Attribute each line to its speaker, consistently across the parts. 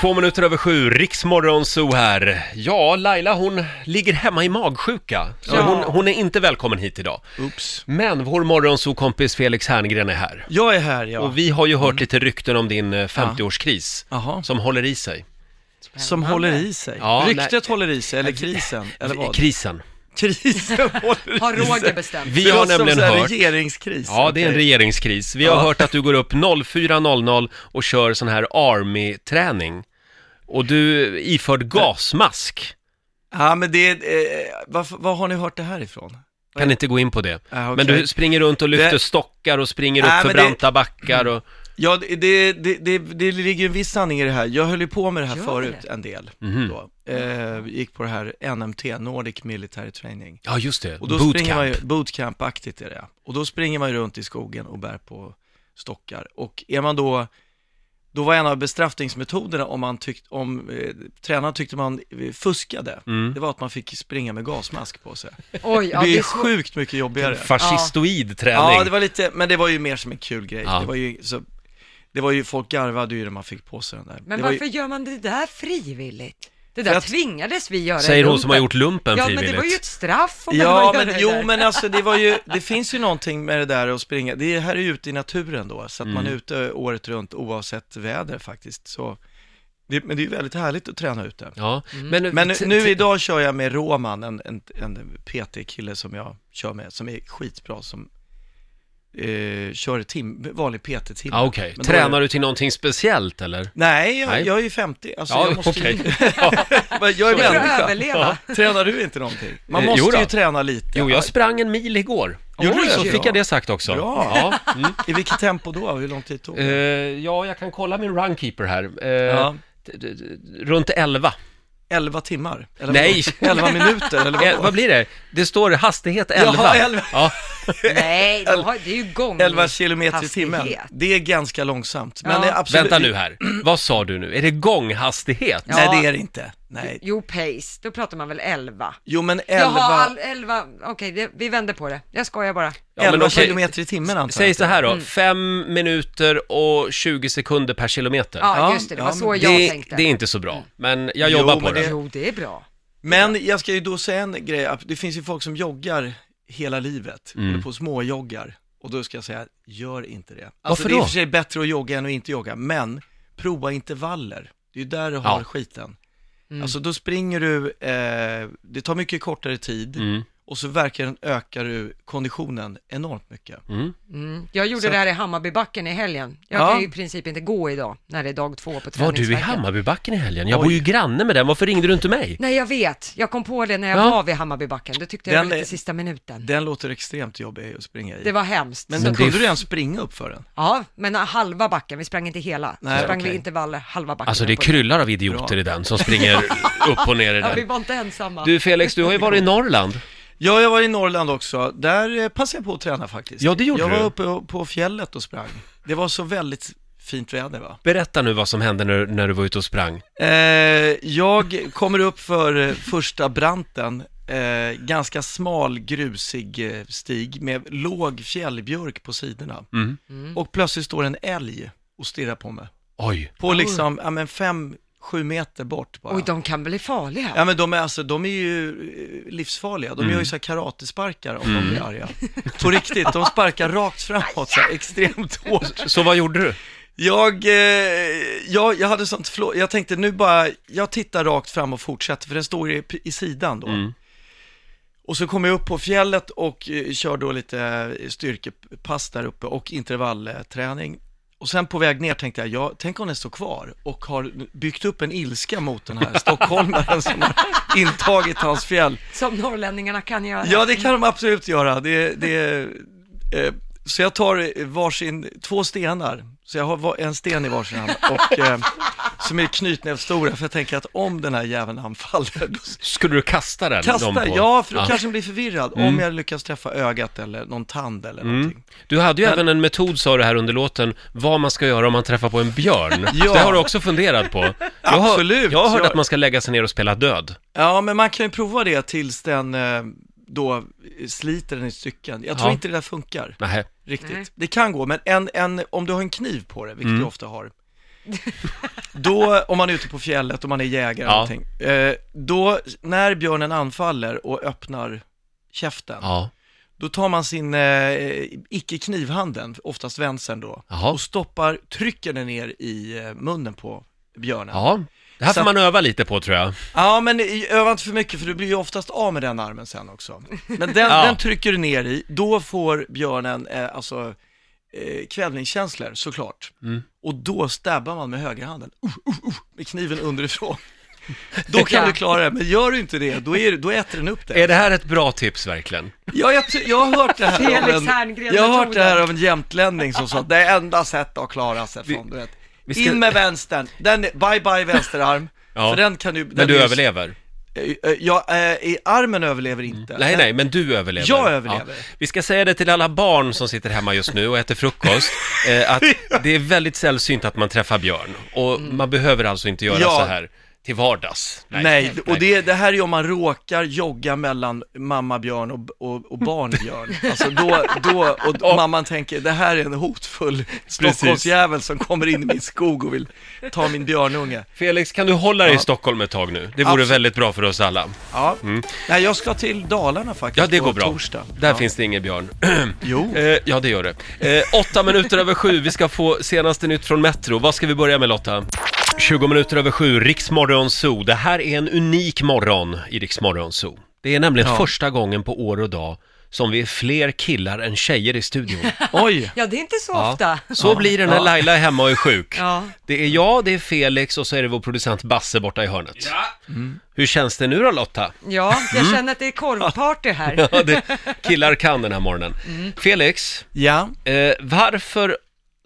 Speaker 1: Två minuter över sju, Riksmorgon Zoo här. Ja, Laila hon ligger hemma i magsjuka, så
Speaker 2: Ja.
Speaker 1: hon, hon är inte välkommen hit idag.
Speaker 2: Oops.
Speaker 1: Men vår morgonzoo-kompis Felix Herngren är här.
Speaker 2: Jag är här ja.
Speaker 1: Och vi har ju
Speaker 2: Mm.
Speaker 1: hört lite rykten om din eh, 50-årskris,
Speaker 2: Jaha.
Speaker 1: som håller i sig.
Speaker 2: Som håller i sig.
Speaker 1: Ja,
Speaker 2: Ryktet håller i sig, eller krisen, eller vad?
Speaker 1: Krisen.
Speaker 2: Krisen håller i sig.
Speaker 3: Har Roger bestämt?
Speaker 1: Vi har nämligen hört...
Speaker 2: regeringskris.
Speaker 1: Ja, det är en
Speaker 2: okej.
Speaker 1: regeringskris. Vi har
Speaker 2: Ja.
Speaker 1: hört att du går upp 04.00 och kör sån här Army-träning. Och du är iförd gasmask.
Speaker 2: Ja, men det är, eh, varför, var har ni hört det här ifrån?
Speaker 1: Kan inte gå in på det.
Speaker 2: Ah, okej.
Speaker 1: Men du springer runt och lyfter
Speaker 2: Det-
Speaker 1: stockar och springer
Speaker 2: Nej,
Speaker 1: upp för
Speaker 2: men det-
Speaker 1: branta backar och...
Speaker 2: Ja, det, det, det, det, det ligger en viss sanning i det här. Jag höll ju på med det här
Speaker 3: Gör
Speaker 2: förut
Speaker 3: det?
Speaker 2: en del.
Speaker 1: Mhm.
Speaker 2: Då. Eh, gick på det här NMT, Nordic Military Training.
Speaker 1: Ja, just det.
Speaker 2: Och då springer man ju,
Speaker 1: Bootcamp.
Speaker 2: bootcamp-aktigt är det ja. Och då springer man ju runt i skogen och bär på stockar. Och är man då, då var en av bestraffningsmetoderna om man tyckte, om eh, tränaren tyckte man eh, fuskade,
Speaker 1: Mm.
Speaker 2: det var att man fick springa med gasmask på sig.
Speaker 3: Oj, ja,
Speaker 2: det är
Speaker 3: det
Speaker 2: ju
Speaker 3: är svårt.
Speaker 2: sjukt mycket jobbigare.
Speaker 1: Fascistoid träning.
Speaker 2: Ja, det var lite, men det var ju mer som en kul grej.
Speaker 1: Ja.
Speaker 2: Det var ju, så, det var ju, folk garvade ju när man fick på sig den där.
Speaker 3: Men
Speaker 2: det var ju,
Speaker 3: varför gör man det där frivilligt? Det där
Speaker 2: För att-
Speaker 3: tvingades vi göra i
Speaker 1: Säger hon som har
Speaker 3: lumpen.
Speaker 1: gjort lumpen
Speaker 3: Ja, men
Speaker 1: frivilligt.
Speaker 3: det var ju ett straff om man
Speaker 2: Ja,
Speaker 3: gör
Speaker 2: men
Speaker 3: det
Speaker 2: jo,
Speaker 3: där.
Speaker 2: men alltså det var ju, det finns ju någonting med det där att springa. Det är- här är ju ute i naturen då, så att
Speaker 1: Mm.
Speaker 2: man är ute året runt oavsett väder faktiskt. Så, det, men det är ju väldigt härligt att träna ute.
Speaker 1: Ja, Mm. men,
Speaker 2: Men
Speaker 1: t-
Speaker 2: nu
Speaker 1: t-
Speaker 2: idag kör jag med Roman, en, en, en PT-kille som jag kör med, som är skitbra, som eh, kör tim, vanlig PT-timme.
Speaker 1: Ja, okej.
Speaker 2: Men då är-
Speaker 1: Tränar du till någonting speciellt eller?
Speaker 2: Nej, jag,
Speaker 1: Ah, Nej.
Speaker 2: jag är ju 50. Alltså,
Speaker 1: Ja,
Speaker 2: jag måste
Speaker 1: okej.
Speaker 2: ju... jag är
Speaker 3: För att
Speaker 2: människa.
Speaker 3: överleva.
Speaker 2: Tränar du inte någonting? Man
Speaker 1: Eh, jo
Speaker 2: måste
Speaker 1: då.
Speaker 2: ju träna lite.
Speaker 1: Jo, jag sprang en mil igår.
Speaker 2: Gjorde
Speaker 3: du
Speaker 1: Så
Speaker 3: det?
Speaker 1: fick jag det sagt också.
Speaker 2: Bra.
Speaker 1: Ja, mm.
Speaker 2: I vilket tempo då? Hur lång tid tog det?
Speaker 1: Eh, ja, jag kan kolla min runkeeper här. Eh,
Speaker 2: Ja.
Speaker 1: t- t- t- Runt 11.
Speaker 2: 11 timmar? Eller
Speaker 1: Nej.
Speaker 2: vadå? 11 minuter, eller
Speaker 1: Eh,
Speaker 2: vadå?
Speaker 1: vad blir det? Det står hastighet 11.
Speaker 2: Jaha, 11.
Speaker 1: Ja.
Speaker 3: Nej, de har, det är ju gång.
Speaker 2: 11 kilometer i timmen.
Speaker 3: Hastighet.
Speaker 2: Det är ganska långsamt. Men
Speaker 3: Ja.
Speaker 2: det är absolut...
Speaker 1: Vänta nu här. Vad sa du nu? Är det gånghastighet?
Speaker 3: Ja.
Speaker 2: Nej, det är det inte. Nej.
Speaker 3: Jo, pace, då pratar man väl 11.
Speaker 2: Jo, men 11,
Speaker 3: Jaha, all, 11, okej, det- vi vänder på det. Jag skojar bara.
Speaker 1: Ja, men
Speaker 2: 11
Speaker 1: okej.
Speaker 2: kilometer i timmen antar
Speaker 1: Säg
Speaker 2: jag.
Speaker 1: så här
Speaker 3: Mm.
Speaker 1: då, 5 minuter och 20 sekunder per kilometer.
Speaker 3: Ja,
Speaker 2: Ja,
Speaker 3: just det, det
Speaker 2: ja,
Speaker 3: var
Speaker 2: men
Speaker 3: så jag
Speaker 1: det,
Speaker 3: tänkte. Mm.
Speaker 1: det är inte så bra, men jag jobbar
Speaker 2: Jo,
Speaker 1: på
Speaker 2: men
Speaker 1: det.
Speaker 3: Jo, det är bra.
Speaker 2: Men jag ska ju då säga en grej. att Det finns ju folk som joggar hela livet,
Speaker 1: Mm.
Speaker 2: håller på och småjoggar. Och då ska jag säga, gör inte det. Alltså,
Speaker 1: Varför
Speaker 2: det är
Speaker 1: då?
Speaker 2: i och för sig bättre att jogga än att inte jogga, men prova intervaller. Det är ju där du har
Speaker 1: Ja.
Speaker 2: skiten.
Speaker 3: Mm.
Speaker 2: Alltså då springer du, eh, det tar mycket kortare tid
Speaker 1: Mm.
Speaker 2: och så verkar den, ökar du konditionen enormt mycket.
Speaker 3: Mm. Jag gjorde
Speaker 2: Så-
Speaker 3: det här i Hammarbybacken i helgen. Jag
Speaker 2: Ja.
Speaker 3: kan ju i princip inte gå idag när det är dag två på
Speaker 1: Var du i
Speaker 3: träningsvärken.
Speaker 1: Hammarbybacken i helgen? Jag bor ju granne med den, varför ringde du inte mig?
Speaker 3: Nej, jag vet. Jag kom på det när jag
Speaker 1: Ja.
Speaker 3: var vid Hammarbybacken. Det tyckte jag
Speaker 2: Den
Speaker 3: var lite
Speaker 2: är-
Speaker 3: sista minuten.
Speaker 2: Den låter extremt jobbig att springa i.
Speaker 3: Det var hemskt.
Speaker 2: Men,
Speaker 3: Så-
Speaker 1: Men det-
Speaker 2: kunde du ens springa upp för den?
Speaker 3: Ja, men halva backen. Vi sprang inte hela.
Speaker 2: Nej,
Speaker 3: så sprang vi
Speaker 2: okej.
Speaker 3: intervaller halva backen.
Speaker 1: Alltså det
Speaker 3: uppåt.
Speaker 1: kryllar av idioter
Speaker 2: Bra.
Speaker 1: i den som springer upp och ner i
Speaker 3: Ja, vi
Speaker 1: den.
Speaker 3: var inte ensamma.
Speaker 1: Du Felix, du har ju varit i Norrland.
Speaker 2: Ja, jag var i Norrland också. Där eh, passade jag på att träna faktiskt.
Speaker 1: Ja, det gjorde
Speaker 2: jag
Speaker 1: du.
Speaker 2: var uppe och- på fjället och sprang. Det var så väldigt fint väder va?
Speaker 1: Berätta nu vad som hände när, när du var ute och sprang.
Speaker 2: Eh, jag kommer upp för eh, första branten, eh, ganska smal grusig eh, stig med låg fjällbjörk på sidorna.
Speaker 1: Mm.
Speaker 2: Och plötsligt står en älg och stirrar på mig.
Speaker 1: Oj,
Speaker 2: På liksom, ja men fem, sju meter bort bara.
Speaker 3: Oj, de kan bli farliga.
Speaker 2: Ja men de är alltså, de är ju eh, livsfarliga. De gör ju så här karatesparkar om de blir arga. På riktigt, de sparkar rakt framåt så här, extremt hårt.
Speaker 1: så vad gjorde du?
Speaker 2: Jag, eh, jag, jag hade sånt flå- jag tänkte nu bara, jag tittar rakt fram och fortsätter för den står i, i sidan då. Och så kom jag upp på fjället och eh, kör då lite eh, styrkepass där uppe och intervallträning. Och sen på väg ner tänkte jag, ja, tänk om den står kvar och har byggt upp en ilska mot den här stockholmaren som har intagit hans fjäll.
Speaker 3: Som norrlänningarna kan göra.
Speaker 2: Ja, det kan de absolut göra. Det, det, eh, så jag tar varsin, två stenar. Så jag har va- en sten i varsin hand och eh, som är knytnävsstora för jag tänker att om den här jäveln anfaller då
Speaker 1: Skulle du kasta den? dem
Speaker 2: kastar
Speaker 1: på? Mm.
Speaker 2: jag, ja, för då kanske den blir förvirrad om jag lyckas träffa ögat eller någon tand eller någonting.
Speaker 1: Du hade ju även en metod, sa du här under låten, vad man ska göra om man träffar på en björn.
Speaker 2: Ja.
Speaker 1: Det har du också funderat på. Jag har,
Speaker 2: Absolut.
Speaker 1: Jag har hört
Speaker 2: Jag-
Speaker 1: att man ska lägga sig ner och spela död.
Speaker 2: Ja, men man kan ju prova det tills den eh, då sliter den i stycken. Jag tror
Speaker 1: Ja.
Speaker 2: inte det där funkar.
Speaker 1: Nej.
Speaker 2: riktigt.
Speaker 3: Nej.
Speaker 1: Mm.
Speaker 2: Det kan gå, men en, en, om du har en kniv på dig, vilket du ofta har, Då, om man är ute på fjället och man är jägare och
Speaker 1: Ja.
Speaker 2: allting, eh, då, när björnen anfaller och öppnar käften,
Speaker 1: Ja.
Speaker 2: då tar man sin, eh, icke knivhanden, oftast vänstern då,
Speaker 1: Jaha.
Speaker 2: och stoppar, trycker den ner i eh, munnen på björnen. Ja,
Speaker 1: ja. Det här
Speaker 2: Så
Speaker 1: får man öva lite på tror jag.
Speaker 2: men i- öva inte för mycket för du blir ju oftast av med den armen sen också. Men den,
Speaker 1: Ja.
Speaker 2: den trycker du ner i, då får björnen, eh, alltså, eh, kvävningskänslor såklart.
Speaker 1: Mm.
Speaker 2: Och då stabbar man med högerhanden, uh, uh, uh, med kniven underifrån. Då kan
Speaker 3: Ja.
Speaker 2: du klara det, men gör du inte det, då, är, du- då äter den upp det.
Speaker 1: Är det här ett bra tips verkligen?
Speaker 2: Ja, jag, ty- jag har hört det här
Speaker 3: Felix
Speaker 2: av en, jag har hört det här
Speaker 3: Herngren-metoden.
Speaker 2: av en jämtlänning som sa att det är enda sättet att klara sig från, du vet.
Speaker 1: vi ska-
Speaker 2: In med vänstern, den, är- bye bye vänsterarm.
Speaker 1: Ja.
Speaker 2: För den kan ju, den
Speaker 1: Men
Speaker 2: är
Speaker 1: du
Speaker 2: ju-
Speaker 1: överlever?
Speaker 2: Eh, eh, Ja, eh, i armen överlever inte.
Speaker 1: Mm. Nej,
Speaker 2: Den-
Speaker 1: nej, men du överlever.
Speaker 2: Jag överlever.
Speaker 1: Vi ska säga det till alla barn som sitter hemma just nu och äter frukost, eh, att det är väldigt sällsynt att man träffar björn. Och man behöver alltså inte göra
Speaker 2: Mm. Ja.
Speaker 1: så här till vardags.
Speaker 2: Nej, och det, det här är ju om man råkar jogga mellan mamma björn och, och, och barnbjörn. Alltså då, då, och mamman tänker, det här är en hotfull Stockholmsjävel som kommer in i min skog och vill ta min björnunge.
Speaker 1: Felix, kan du hålla dig i Stockholm ett tag nu? Det vore
Speaker 2: Absolut.
Speaker 1: väldigt bra för oss alla.
Speaker 2: Ja. Nej, jag ska till Dalarna faktiskt
Speaker 1: Mm. Ja, det
Speaker 2: på
Speaker 1: går bra.
Speaker 2: torsdag.
Speaker 1: Där
Speaker 2: ja.
Speaker 1: finns det ingen björn.
Speaker 2: Jo.
Speaker 1: eh, ja, det gör det. Eh, åtta minuter över sju, vi ska få senaste nytt från Metro. Vad ska vi börja med Lotta? 20 minuter över sju, Riksmorgon Zoo. Det här är en unik morgon i Riksmorgon Zoo. Det är nämligen
Speaker 2: Ja.
Speaker 1: första gången på år och dag som vi är fler killar än tjejer i studion.
Speaker 2: Oj!
Speaker 3: Ja, det är inte så
Speaker 1: Ja.
Speaker 3: ofta.
Speaker 1: Så blir det när
Speaker 2: Ja.
Speaker 1: Laila är hemma och är sjuk.
Speaker 3: Ja.
Speaker 1: Det är jag, det är Felix och så är det vår producent Basse borta i hörnet. Hur känns det nu då Lotta?
Speaker 3: Ja,
Speaker 2: Mm.
Speaker 3: jag känner att det är korvparty här.
Speaker 1: Ja, det, killar kan den här morgonen. Felix,
Speaker 2: Ja,
Speaker 1: eh, varför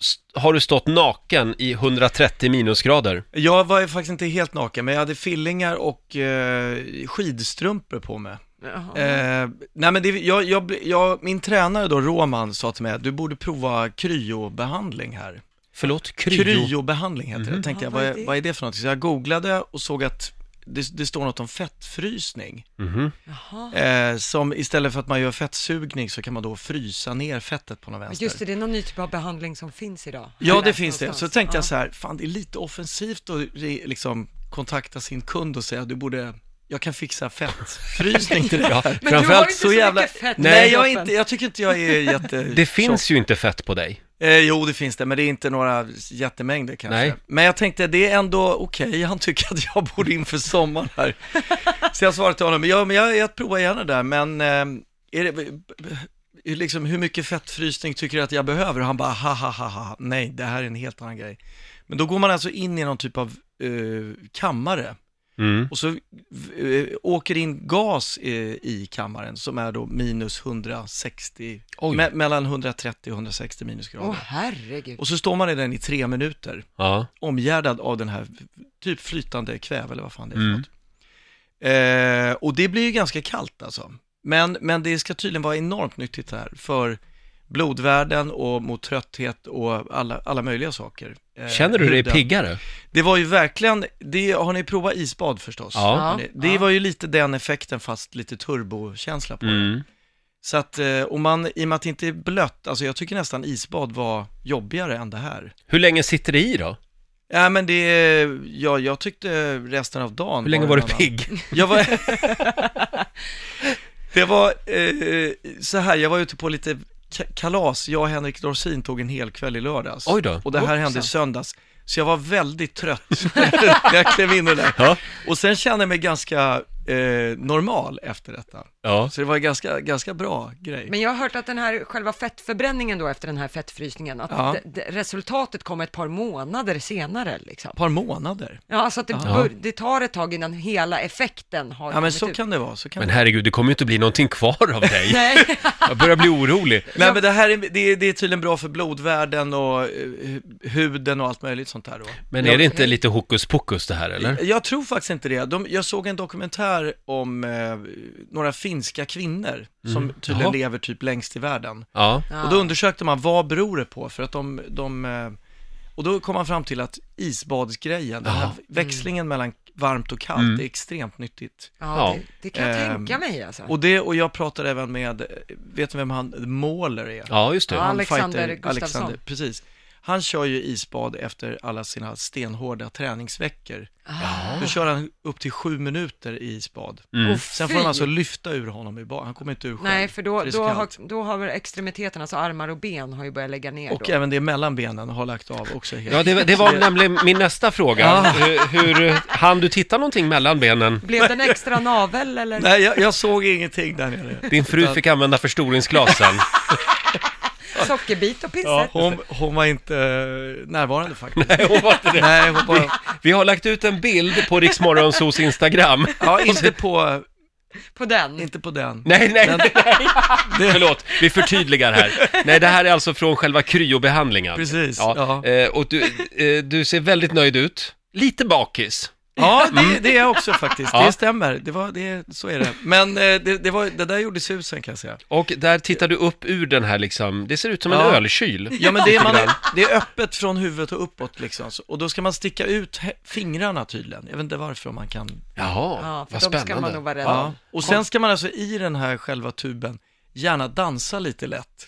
Speaker 1: st- har du stått naken i 130 minusgrader?
Speaker 2: jag var ju faktiskt inte helt naken, men jag hade fillingar och eh, skidstrumpor på mig.
Speaker 3: Jaha.
Speaker 2: Eh, nej men det, jag, jag, jag, min tränare då, Roman, sa till mig att du borde prova kryobehandling här.
Speaker 1: Förlåt, kryo?
Speaker 2: Kryobehandling heter det. Jag tänkte,
Speaker 3: Ja,
Speaker 2: jag, vad,
Speaker 3: vad är
Speaker 2: är,
Speaker 3: det?
Speaker 2: vad är det för någonting? Så jag googlade och såg att det, det står något om fettfrysning.
Speaker 1: Mhm.
Speaker 3: Jaha.
Speaker 2: Eh, som istället för att man gör fettsugning så kan man då frysa ner fettet på någon vänster.
Speaker 3: Just det, det är någon ny typ av behandling som finns idag.
Speaker 2: Ja, det
Speaker 3: Läst
Speaker 2: finns det. Så
Speaker 3: någonstans.
Speaker 2: tänkte
Speaker 3: Ja.
Speaker 2: jag så här, fan det är lite offensivt att re- liksom kontakta sin kund och säga du borde, jag kan fixa fettfrysning till dig.
Speaker 1: Ja,
Speaker 3: Men du har ju
Speaker 1: framförallt,
Speaker 3: inte så, mycket fett i
Speaker 2: Nej, jag, är
Speaker 3: kroppen.
Speaker 2: inte, jag tycker inte jag är jätte...
Speaker 1: det finns ju inte fett på dig.
Speaker 2: Eh, jo, det finns det, men det är inte några jättemängder kanske.
Speaker 1: Nej.
Speaker 2: Men jag tänkte, det är ändå okej, han tycker att jag borde inför sommaren här. Så jag svarade till honom, ja, men jag, jag provar gärna det där, men eh, är det, b- b- liksom, hur mycket fettfrysning tycker du att jag behöver? Och han bara, ha, ha, ha, ha, nej, det här är en helt annan grej. Men då går man alltså in i någon typ av eh, kammare
Speaker 1: Mm.
Speaker 2: och så eh, åker in gas eh, i kammaren som är då minus 160,
Speaker 1: Oj.
Speaker 2: me- mellan 130 och 160 minusgrader.
Speaker 3: Åh, herregud.
Speaker 2: Och så står man i den i tre minuter,
Speaker 1: Ja.
Speaker 2: omgärdad av den här typ flytande kväve eller vad fan det är för
Speaker 1: Mm.
Speaker 2: något. Eh, och det blir ju ganska kallt alltså. Men, men det ska tydligen vara enormt nyttigt här för blodvärden och mot trötthet och alla, alla möjliga saker. Eh,
Speaker 1: Känner du dig
Speaker 2: huden.
Speaker 1: piggare?
Speaker 2: Det var ju verkligen, det, har ni provat isbad förstås?
Speaker 1: Ja.
Speaker 2: Har ni- Det
Speaker 3: Ja.
Speaker 2: var ju lite den effekten fast lite turbokänsla på det.
Speaker 1: Mm.
Speaker 2: Så att, eh, och man, i och med att det inte är blött, alltså jag tycker nästan isbad var jobbigare än det här.
Speaker 1: Hur länge sitter det i då?
Speaker 2: Ja men det, ja, jag tyckte resten av dagen
Speaker 1: Hur länge var
Speaker 2: var
Speaker 1: du
Speaker 2: en annan.
Speaker 1: pigg?
Speaker 2: Jag var, det var eh, så här, jag var ute på lite ka- kalas, jag och Henrik Dorsin tog en hel kväll i lördags.
Speaker 1: Oj då.
Speaker 2: Och det här hände i söndags. Så jag var väldigt trött när jag klev in i det där.
Speaker 1: Ja.
Speaker 2: Och sen kände jag mig ganska eh, normal efter detta.
Speaker 1: Ja.
Speaker 2: Så det var en ganska, ganska bra grej.
Speaker 3: Men jag har hört att den här själva fettförbränningen då efter den här fettfrysningen, att
Speaker 2: Ja.
Speaker 3: d- d- resultatet kommer ett par månader senare liksom.
Speaker 2: Ett par månader.
Speaker 3: Ja, alltså att det, bör, det tar ett tag innan hela effekten har
Speaker 2: Ja men typ.
Speaker 3: kommit
Speaker 2: så
Speaker 3: ut.
Speaker 2: kan det vara. Så kan
Speaker 1: Men
Speaker 2: det.
Speaker 1: herregud, det kommer ju inte bli någonting kvar av dig.
Speaker 3: Nej,
Speaker 1: Jag börjar bli orolig.
Speaker 2: Nej men det här är, det är, det är tydligen bra för blodvärden och eh, huden och allt möjligt sånt där då.
Speaker 1: Men är det inte lite hokus pokus det här eller?
Speaker 2: Jag tror faktiskt inte det. De, jag såg en dokumentär om eh, några finska kvinnor som tydligen
Speaker 1: Mm. Jaha.
Speaker 2: lever typ längst i världen.
Speaker 1: Ja.
Speaker 3: Ja.
Speaker 2: Och då undersökte man vad beror det på för att de, de eh, och då kom man fram till att isbadsgrejen, den här
Speaker 1: Ja.
Speaker 2: växlingen mellan varmt och
Speaker 1: Mm.
Speaker 2: kallt, är extremt nyttigt.
Speaker 1: Ja.
Speaker 3: ja, det, det kan jag
Speaker 2: Ehm,
Speaker 3: tänka mig alltså.
Speaker 2: Och det, och jag pratade även med, eh, vet ni vem han, Måler är?
Speaker 1: Ja, just det.
Speaker 3: Ja.
Speaker 2: Han
Speaker 3: Alexander
Speaker 2: fighter-
Speaker 3: Gustafsson.
Speaker 2: precis. Han kör ju isbad efter alla sina stenhårda träningsveckor.
Speaker 3: Ah.
Speaker 2: Då kör han upp till sju minuter i isbad.
Speaker 1: Mm.
Speaker 3: Åh,
Speaker 2: Sen får
Speaker 3: fy.
Speaker 2: de alltså lyfta ur honom i bad. Han kommer inte ur själv.
Speaker 3: Nej, för då,
Speaker 2: det är
Speaker 3: då,
Speaker 2: så
Speaker 3: har,
Speaker 2: kallt.
Speaker 3: då har extremiteterna, alltså armar och ben, har ju börjat lägga ner
Speaker 2: Och
Speaker 3: då.
Speaker 2: även det mellan benen har lagt av också helt.
Speaker 1: Ja, det, det var nämligen min nästa fråga.
Speaker 2: Ja.
Speaker 1: Hur, hur hann du titta någonting mellan benen?
Speaker 3: Blev det en extra navel eller?
Speaker 2: Nej, jag, jag såg ingenting där nere.
Speaker 1: Din fru fick använda förstoringsglas sen.
Speaker 3: Sockerbit och pincett?
Speaker 2: Hon, hon var inte eh, närvarande faktiskt.
Speaker 1: Nej, hon var inte det.
Speaker 2: Nej, hon bara...
Speaker 1: Vi har lagt ut en bild på Riksmorgonsos Instagram.
Speaker 2: Ja, inte på,
Speaker 3: På den?
Speaker 2: inte på den.
Speaker 1: Nej, nej,
Speaker 2: Den-
Speaker 1: nej. Förlåt, vi förtydligar här. Nej, det här är alltså från själva kryobehandlingen.
Speaker 2: Precis,
Speaker 1: Ja.
Speaker 2: ja.
Speaker 1: Eh, Och du, eh, du ser väldigt nöjd ut. Lite bakis.
Speaker 2: Ja, det, det är jag också faktiskt.
Speaker 1: Ja.
Speaker 2: Det stämmer. Det var, det, så är det. Men eh, det, det, var, det där gjorde susen kan jag säga.
Speaker 1: Och där tittar du upp ur den här liksom, det ser ut som en
Speaker 2: Ja.
Speaker 1: ölkyl.
Speaker 2: Ja, men det är, man,
Speaker 1: Lite grann.
Speaker 2: det är öppet från huvudet och uppåt liksom. Så- Och då ska man sticka ut he- fingrarna tydligen. Jag vet inte varför man kan.
Speaker 1: Jaha,
Speaker 3: Ja, för
Speaker 1: vad
Speaker 3: de ska man
Speaker 1: spännande.
Speaker 3: nog vara rädd
Speaker 2: Ja.
Speaker 3: om.
Speaker 2: Och sen ska man alltså i den här själva tuben gärna dansa lite lätt.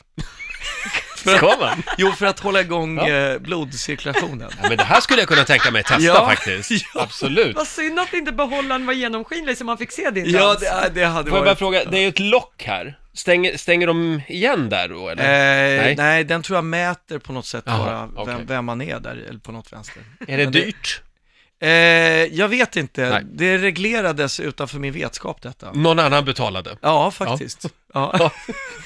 Speaker 1: Ska man?
Speaker 2: Jo, för att hålla igång eh, blodcirkulationen.
Speaker 1: Ja, men det här skulle jag kunna tänka mig testa
Speaker 2: Ja.
Speaker 1: faktiskt. Absolut.
Speaker 3: Vad synd att inte behållaren var genomskinlig så man fick se din
Speaker 2: Ja,
Speaker 3: dans.
Speaker 2: det, det hade
Speaker 1: Får jag bara
Speaker 2: varit...
Speaker 1: fråga, det är ju ett lock här. Stänger, stänger de igen där då eller?
Speaker 2: Eh,
Speaker 1: Nej.
Speaker 2: nej. den tror jag mäter på något sätt
Speaker 1: Jaha,
Speaker 2: bara
Speaker 1: okej.
Speaker 2: vem, vem man är där, eller på något vänster.
Speaker 1: är det
Speaker 2: men det-
Speaker 1: dyrt?
Speaker 2: Eh, jag vet inte.
Speaker 1: Nej.
Speaker 2: Det reglerades utanför min vetskap detta.
Speaker 1: Någon annan betalade.
Speaker 2: Ja, faktiskt. Ja.
Speaker 1: Ja,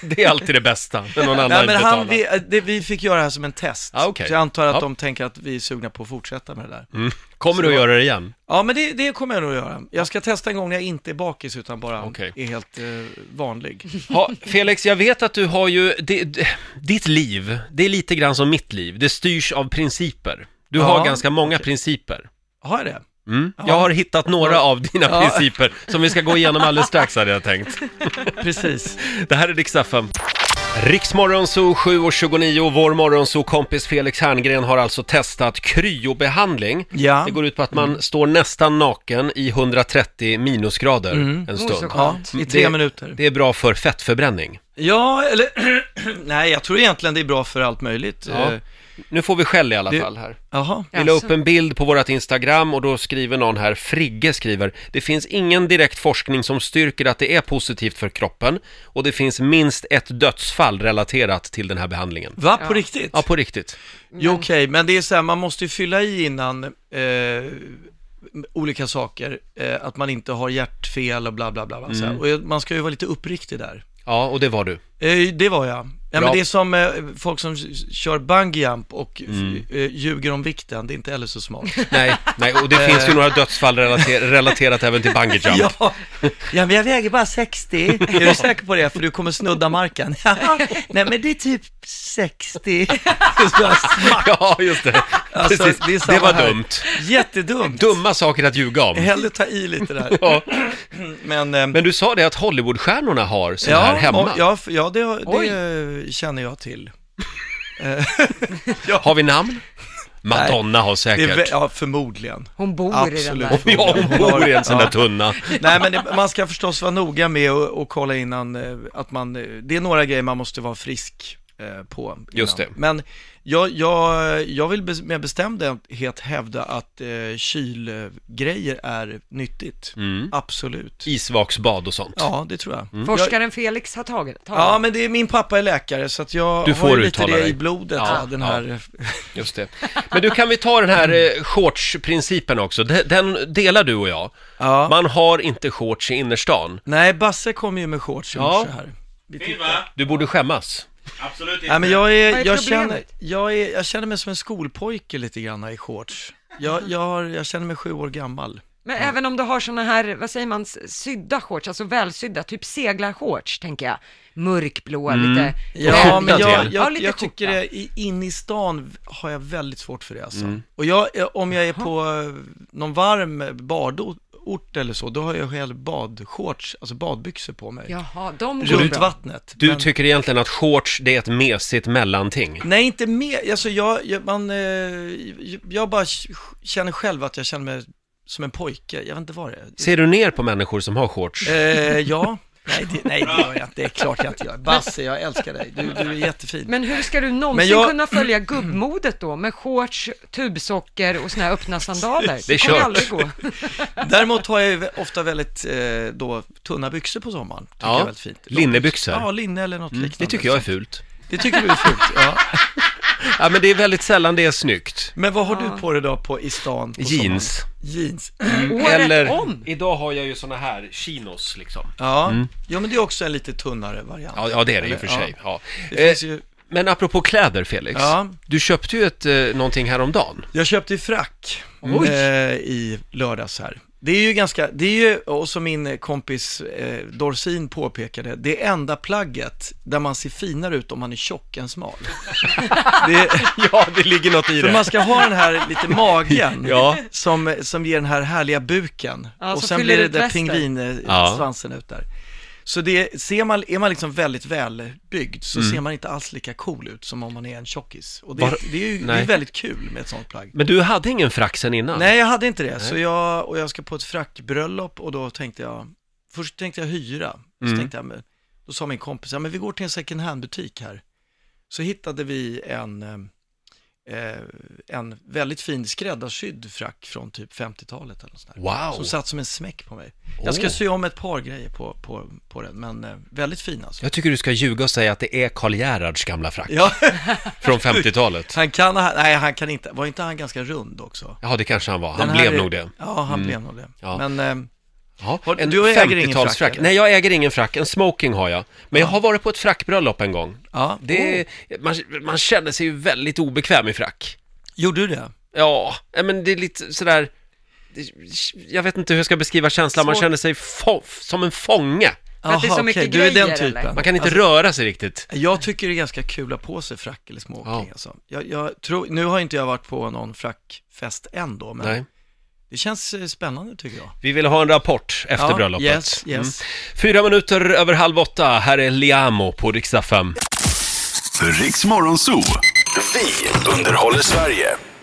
Speaker 1: det är alltid det bästa, när någon annan
Speaker 2: Nej, men
Speaker 1: betalar.
Speaker 2: han, vi, det, vi fick göra det här som en test.
Speaker 1: Ah, okej.
Speaker 2: Så jag antar att
Speaker 1: Ja.
Speaker 2: de tänker att vi är sugna på att fortsätta med det där.
Speaker 1: Mm. Kommer du att göra det igen?
Speaker 2: Ja, men det, det kommer jag nog göra. Jag ska testa en gång när jag inte är bakis utan bara
Speaker 1: Okej.
Speaker 2: är helt eh, vanlig.
Speaker 1: Ha, Felix, jag vet att du har ju, det, det- ditt liv, det är lite grann som mitt liv, det styrs av principer. Du
Speaker 2: Ja,
Speaker 1: har ganska många principer.
Speaker 2: Har jag det?
Speaker 1: Mm. Jag har hittat några av dina
Speaker 2: Ja.
Speaker 1: principer som vi ska gå igenom alldeles strax hade jag tänkt.
Speaker 2: Precis.
Speaker 1: Det här är Rix FM. Riksmorgonzoo 7 och 29, vår morgonzoo-kompis Felix Herngren har alltså testat kryobehandling.
Speaker 2: Ja. Mm.
Speaker 1: Det går ut på att man står nästan naken i 130 minusgrader
Speaker 2: Mm.
Speaker 1: en
Speaker 3: Oh,
Speaker 1: stund.
Speaker 3: så
Speaker 2: Ja,
Speaker 3: skönt.
Speaker 2: i tre
Speaker 1: Det-
Speaker 2: minuter.
Speaker 1: Det är bra för fettförbränning.
Speaker 2: Ja, eller nej, jag tror egentligen det är bra för allt möjligt.
Speaker 1: Ja.
Speaker 2: Eh,
Speaker 1: Nu får vi skäll i alla
Speaker 2: Det-
Speaker 1: fall här.
Speaker 2: Jaha.
Speaker 1: Vi la
Speaker 3: Jaså.
Speaker 1: upp en bild på vårt Instagram och då skriver någon här, Frigge skriver, det finns ingen direkt forskning som styrker att det är positivt för kroppen och det finns minst ett dödsfall relaterat till den här behandlingen.
Speaker 2: Va,
Speaker 3: Ja.
Speaker 2: på riktigt?
Speaker 1: Ja, på riktigt.
Speaker 2: Jo, okej, men det är så här, man måste ju fylla i innan eh, olika saker, eh, att man inte har hjärtfel och bla bla bla. bla så här. Och jag- man ska ju vara lite uppriktig där.
Speaker 1: Ja, och det var du.
Speaker 2: Eh, det var jag. Ja,
Speaker 1: Bra.
Speaker 2: men det är som eh, folk som s- kör bungyjump och f- eh, ljuger om vikten, det är inte heller så smart.
Speaker 1: Nej, nej, och
Speaker 2: Eh.
Speaker 1: det finns ju några dödsfall relater- relaterat även till bungee jump.
Speaker 2: Ja, ja men jag väger bara 60. Är du säker på det? För du kommer snudda marken. Nej, men det är typ 60.
Speaker 1: Ja, just det.
Speaker 2: Alltså,
Speaker 1: Precis.
Speaker 2: det är
Speaker 1: Det,
Speaker 2: samma
Speaker 1: var
Speaker 2: här.
Speaker 1: dumt.
Speaker 2: Jättedumt.
Speaker 1: Dumma saker att ljuga om.
Speaker 2: Hellre ta i lite där.
Speaker 1: Ja.
Speaker 2: Men, eh,
Speaker 1: Men du sa det att Hollywoodstjärnorna har sån här hemma.
Speaker 2: må- Ja, f- ja det,
Speaker 3: Oj.
Speaker 2: det eh, känner jag till.
Speaker 1: Har vi namn? Madonna har
Speaker 2: Det är,
Speaker 1: säkert.
Speaker 2: vä- ja, förmodligen.
Speaker 3: Hon bor i den
Speaker 2: Absolut.
Speaker 3: där.
Speaker 1: Ja, hon bor i en sån där tunna.
Speaker 2: Nej, men det, man ska förstås vara noga med att- att kolla innan eh, att man, eh, det är några grejer man måste vara frisk eh, på. Innan.
Speaker 1: Just det.
Speaker 2: Men jag, jag, jag vill bes- med bestämdhet hävda att eh, kylgrejer är nyttigt.
Speaker 1: Mm.
Speaker 2: Absolut.
Speaker 1: Isvaksbad och sånt.
Speaker 2: Ja, det tror jag.
Speaker 1: Mm.
Speaker 3: Forskaren Felix har tagit
Speaker 2: Ja,
Speaker 3: talat.
Speaker 2: men det är, min pappa är läkare så att jag
Speaker 1: Du får
Speaker 2: har ju lite
Speaker 1: uttala
Speaker 2: det
Speaker 1: dig.
Speaker 2: i blodet,
Speaker 1: Ja,
Speaker 2: va, den
Speaker 1: ja.
Speaker 2: här
Speaker 1: Just det. Men du, kan vi ta den här eh, shortsprincipen också? De- Den delar du och jag.
Speaker 2: Ja.
Speaker 1: Man har inte shorts i innerstan.
Speaker 2: Nej, Basse kom ju med shorts i
Speaker 1: Ja.
Speaker 2: morse här.
Speaker 4: Viva!
Speaker 1: Du borde skämmas.
Speaker 4: Absolut inte.
Speaker 2: Nej, men jag,
Speaker 3: Vad är
Speaker 2: är, jag,
Speaker 3: problemet?
Speaker 2: känner, jag, är, jag känner mig som en skolpojke lite grann här i shorts. Jag, jag, har, jag känner mig sju år gammal.
Speaker 3: Men även om du har såna här, vad säger man, s- sydda shorts, alltså välsydda, typ seglarshorts tänker jag. Mörkblå, lite.
Speaker 2: Mm. Ja, men
Speaker 1: skjorta
Speaker 2: jag,
Speaker 1: till.
Speaker 3: Ja,
Speaker 2: jag,
Speaker 3: lite
Speaker 2: jag tycker
Speaker 3: skjorta.
Speaker 2: det, i- in i stan har jag väldigt svårt för det alltså.
Speaker 1: Mm.
Speaker 2: Och jag, om jag är på eh, någon varm badort eller så, då har jag själv badshorts, alltså badbyxor på mig.
Speaker 3: Jaha, de går
Speaker 2: Runt
Speaker 3: bra.
Speaker 2: vattnet.
Speaker 1: Du
Speaker 2: Men-
Speaker 1: tycker egentligen att shorts, det är ett mesigt mellanting.
Speaker 2: Nej, inte mer. Alltså, jag, jag, man, eh, jag bara känner själv att jag känner mig som en pojke. Jag vet inte vad det är.
Speaker 1: Ser du ner på människor som har shorts?
Speaker 2: Eh, ja, Nej, det, nej, det gör jag inte. Det är klart jag inte gör. Basse, jag älskar dig. Du, du är jättefin.
Speaker 3: Men hur ska du någonsin
Speaker 2: jag-
Speaker 3: kunna följa gubbmodet då med shorts, tubsocker och såna här öppna sandaler?
Speaker 1: Det är
Speaker 3: kommer
Speaker 1: kört.
Speaker 3: aldrig gå.
Speaker 2: Däremot har jag ju ofta väldigt eh, då, tunna byxor på sommaren. Tycker
Speaker 1: Ja,
Speaker 2: jag är väldigt fint.
Speaker 1: linnebyxor. Mm,
Speaker 2: Ja, linne eller något liknande.
Speaker 1: Det tycker jag är fult.
Speaker 2: Det tycker du är fult, ja.
Speaker 1: Ja, men det är väldigt sällan det är snyggt.
Speaker 2: Men vad har du på dig då på, i stan? På
Speaker 1: Jeans.
Speaker 2: sommaren? Jeans.
Speaker 3: Året om!
Speaker 1: Idag har jag ju såna här chinos liksom.
Speaker 2: Ja. ja, men det är också en lite tunnare variant.
Speaker 1: Ja, ja det är det ju för
Speaker 2: Eller,
Speaker 1: sig. Ja.
Speaker 2: Det finns
Speaker 1: Eh,
Speaker 2: ju...
Speaker 1: Men apropå kläder Felix,
Speaker 2: Ja.
Speaker 1: du köpte ju ett, eh, någonting häromdagen.
Speaker 2: Jag köpte ju frack
Speaker 1: Oj.
Speaker 2: eh, i lördags här. Det är ju ganska, det är ju, och som min kompis eh, Dorsin påpekade, det enda plagget där man ser finare ut om man är tjock än smal. det,
Speaker 1: Ja, det ligger något i
Speaker 2: för man ska ha den här lite magen
Speaker 1: Ja.
Speaker 2: som, som ger den här härliga buken.
Speaker 3: Ja,
Speaker 2: och
Speaker 3: som
Speaker 2: sen
Speaker 3: fyller
Speaker 2: blir det
Speaker 3: ut
Speaker 2: där
Speaker 3: västen.
Speaker 1: Ja.
Speaker 2: pingvinsvansen ut där. Så det, ser man, är man liksom väldigt välbyggd så ser man inte alls lika cool ut som om man är en tjockis. Och det,
Speaker 1: Mm. Var-
Speaker 2: det är ju det är
Speaker 1: Nej.
Speaker 2: väldigt kul med ett sånt plagg.
Speaker 1: Men du hade ingen frack sen innan?
Speaker 2: Nej, jag hade inte det. Så jag, och jag ska på ett frackbröllop och då tänkte jag, först tänkte jag hyra. Så
Speaker 1: Mm.
Speaker 2: tänkte jag, men, då sa min kompis, ja men vi går till en second hand-butik här. Så hittade vi en, eh, eh, en väldigt fin skräddarsydd frack från typ 50-talet eller något sånt där.
Speaker 1: Wow!
Speaker 2: Som satt som en smäck på mig. Jag ska
Speaker 1: Åh.
Speaker 2: sy om ett par grejer på, på, på den, men eh, väldigt fin alltså.
Speaker 1: Jag tycker du ska ljuga och säga att det är Karl Gerhards gamla frack
Speaker 2: Ja,
Speaker 1: från 50-talet.
Speaker 2: han kan, ha- nej han kan inte, var inte han ganska rund också?
Speaker 1: Ja, det kanske han var. Han
Speaker 2: Den här
Speaker 1: blev
Speaker 2: är-
Speaker 1: nog det. Mm.
Speaker 2: Ja, han blev nog det.
Speaker 1: Ja.
Speaker 2: Men, eh,
Speaker 1: Ja,
Speaker 2: Har-
Speaker 1: en
Speaker 2: du äger ingen
Speaker 1: 50-talsfrack.
Speaker 2: frack, eller?
Speaker 1: Nej, jag äger ingen frack. En smoking har jag. Men jag har varit på ett frackbröllop en gång.
Speaker 2: ja. Oh.
Speaker 1: Det, man, man känner sig ju väldigt obekväm i frack.
Speaker 2: Gjorde du det?
Speaker 1: Ja, eh, men det är lite sådär... det- Jag vet inte hur jag ska beskriva känslan. Man
Speaker 3: Svårt.
Speaker 1: känner sig få, som en fånge.
Speaker 3: För att det är så
Speaker 2: Jaha,
Speaker 3: mycket
Speaker 2: okej, du är den
Speaker 3: grejer,
Speaker 2: typen.
Speaker 3: eller?
Speaker 1: Man kan inte
Speaker 2: Alltså-
Speaker 1: röra sig riktigt.
Speaker 2: Jag tycker det är ganska kul att ha på sig frack eller smoking.
Speaker 1: Ja.
Speaker 2: Alltså. Jag, jag tror, nu har inte jag varit på någon frackfest än då, men
Speaker 1: Nej.
Speaker 2: det känns eh, spännande tycker jag.
Speaker 1: Vi vill ha en rapport efter
Speaker 2: Ja,
Speaker 1: bröllopet.
Speaker 2: Yes,
Speaker 1: Mm.
Speaker 2: yes.
Speaker 1: Fyra minuter över halv åtta. Här är Liamo på riksdag 5.
Speaker 4: Riks Morgonzoo. Vi underhåller Sverige.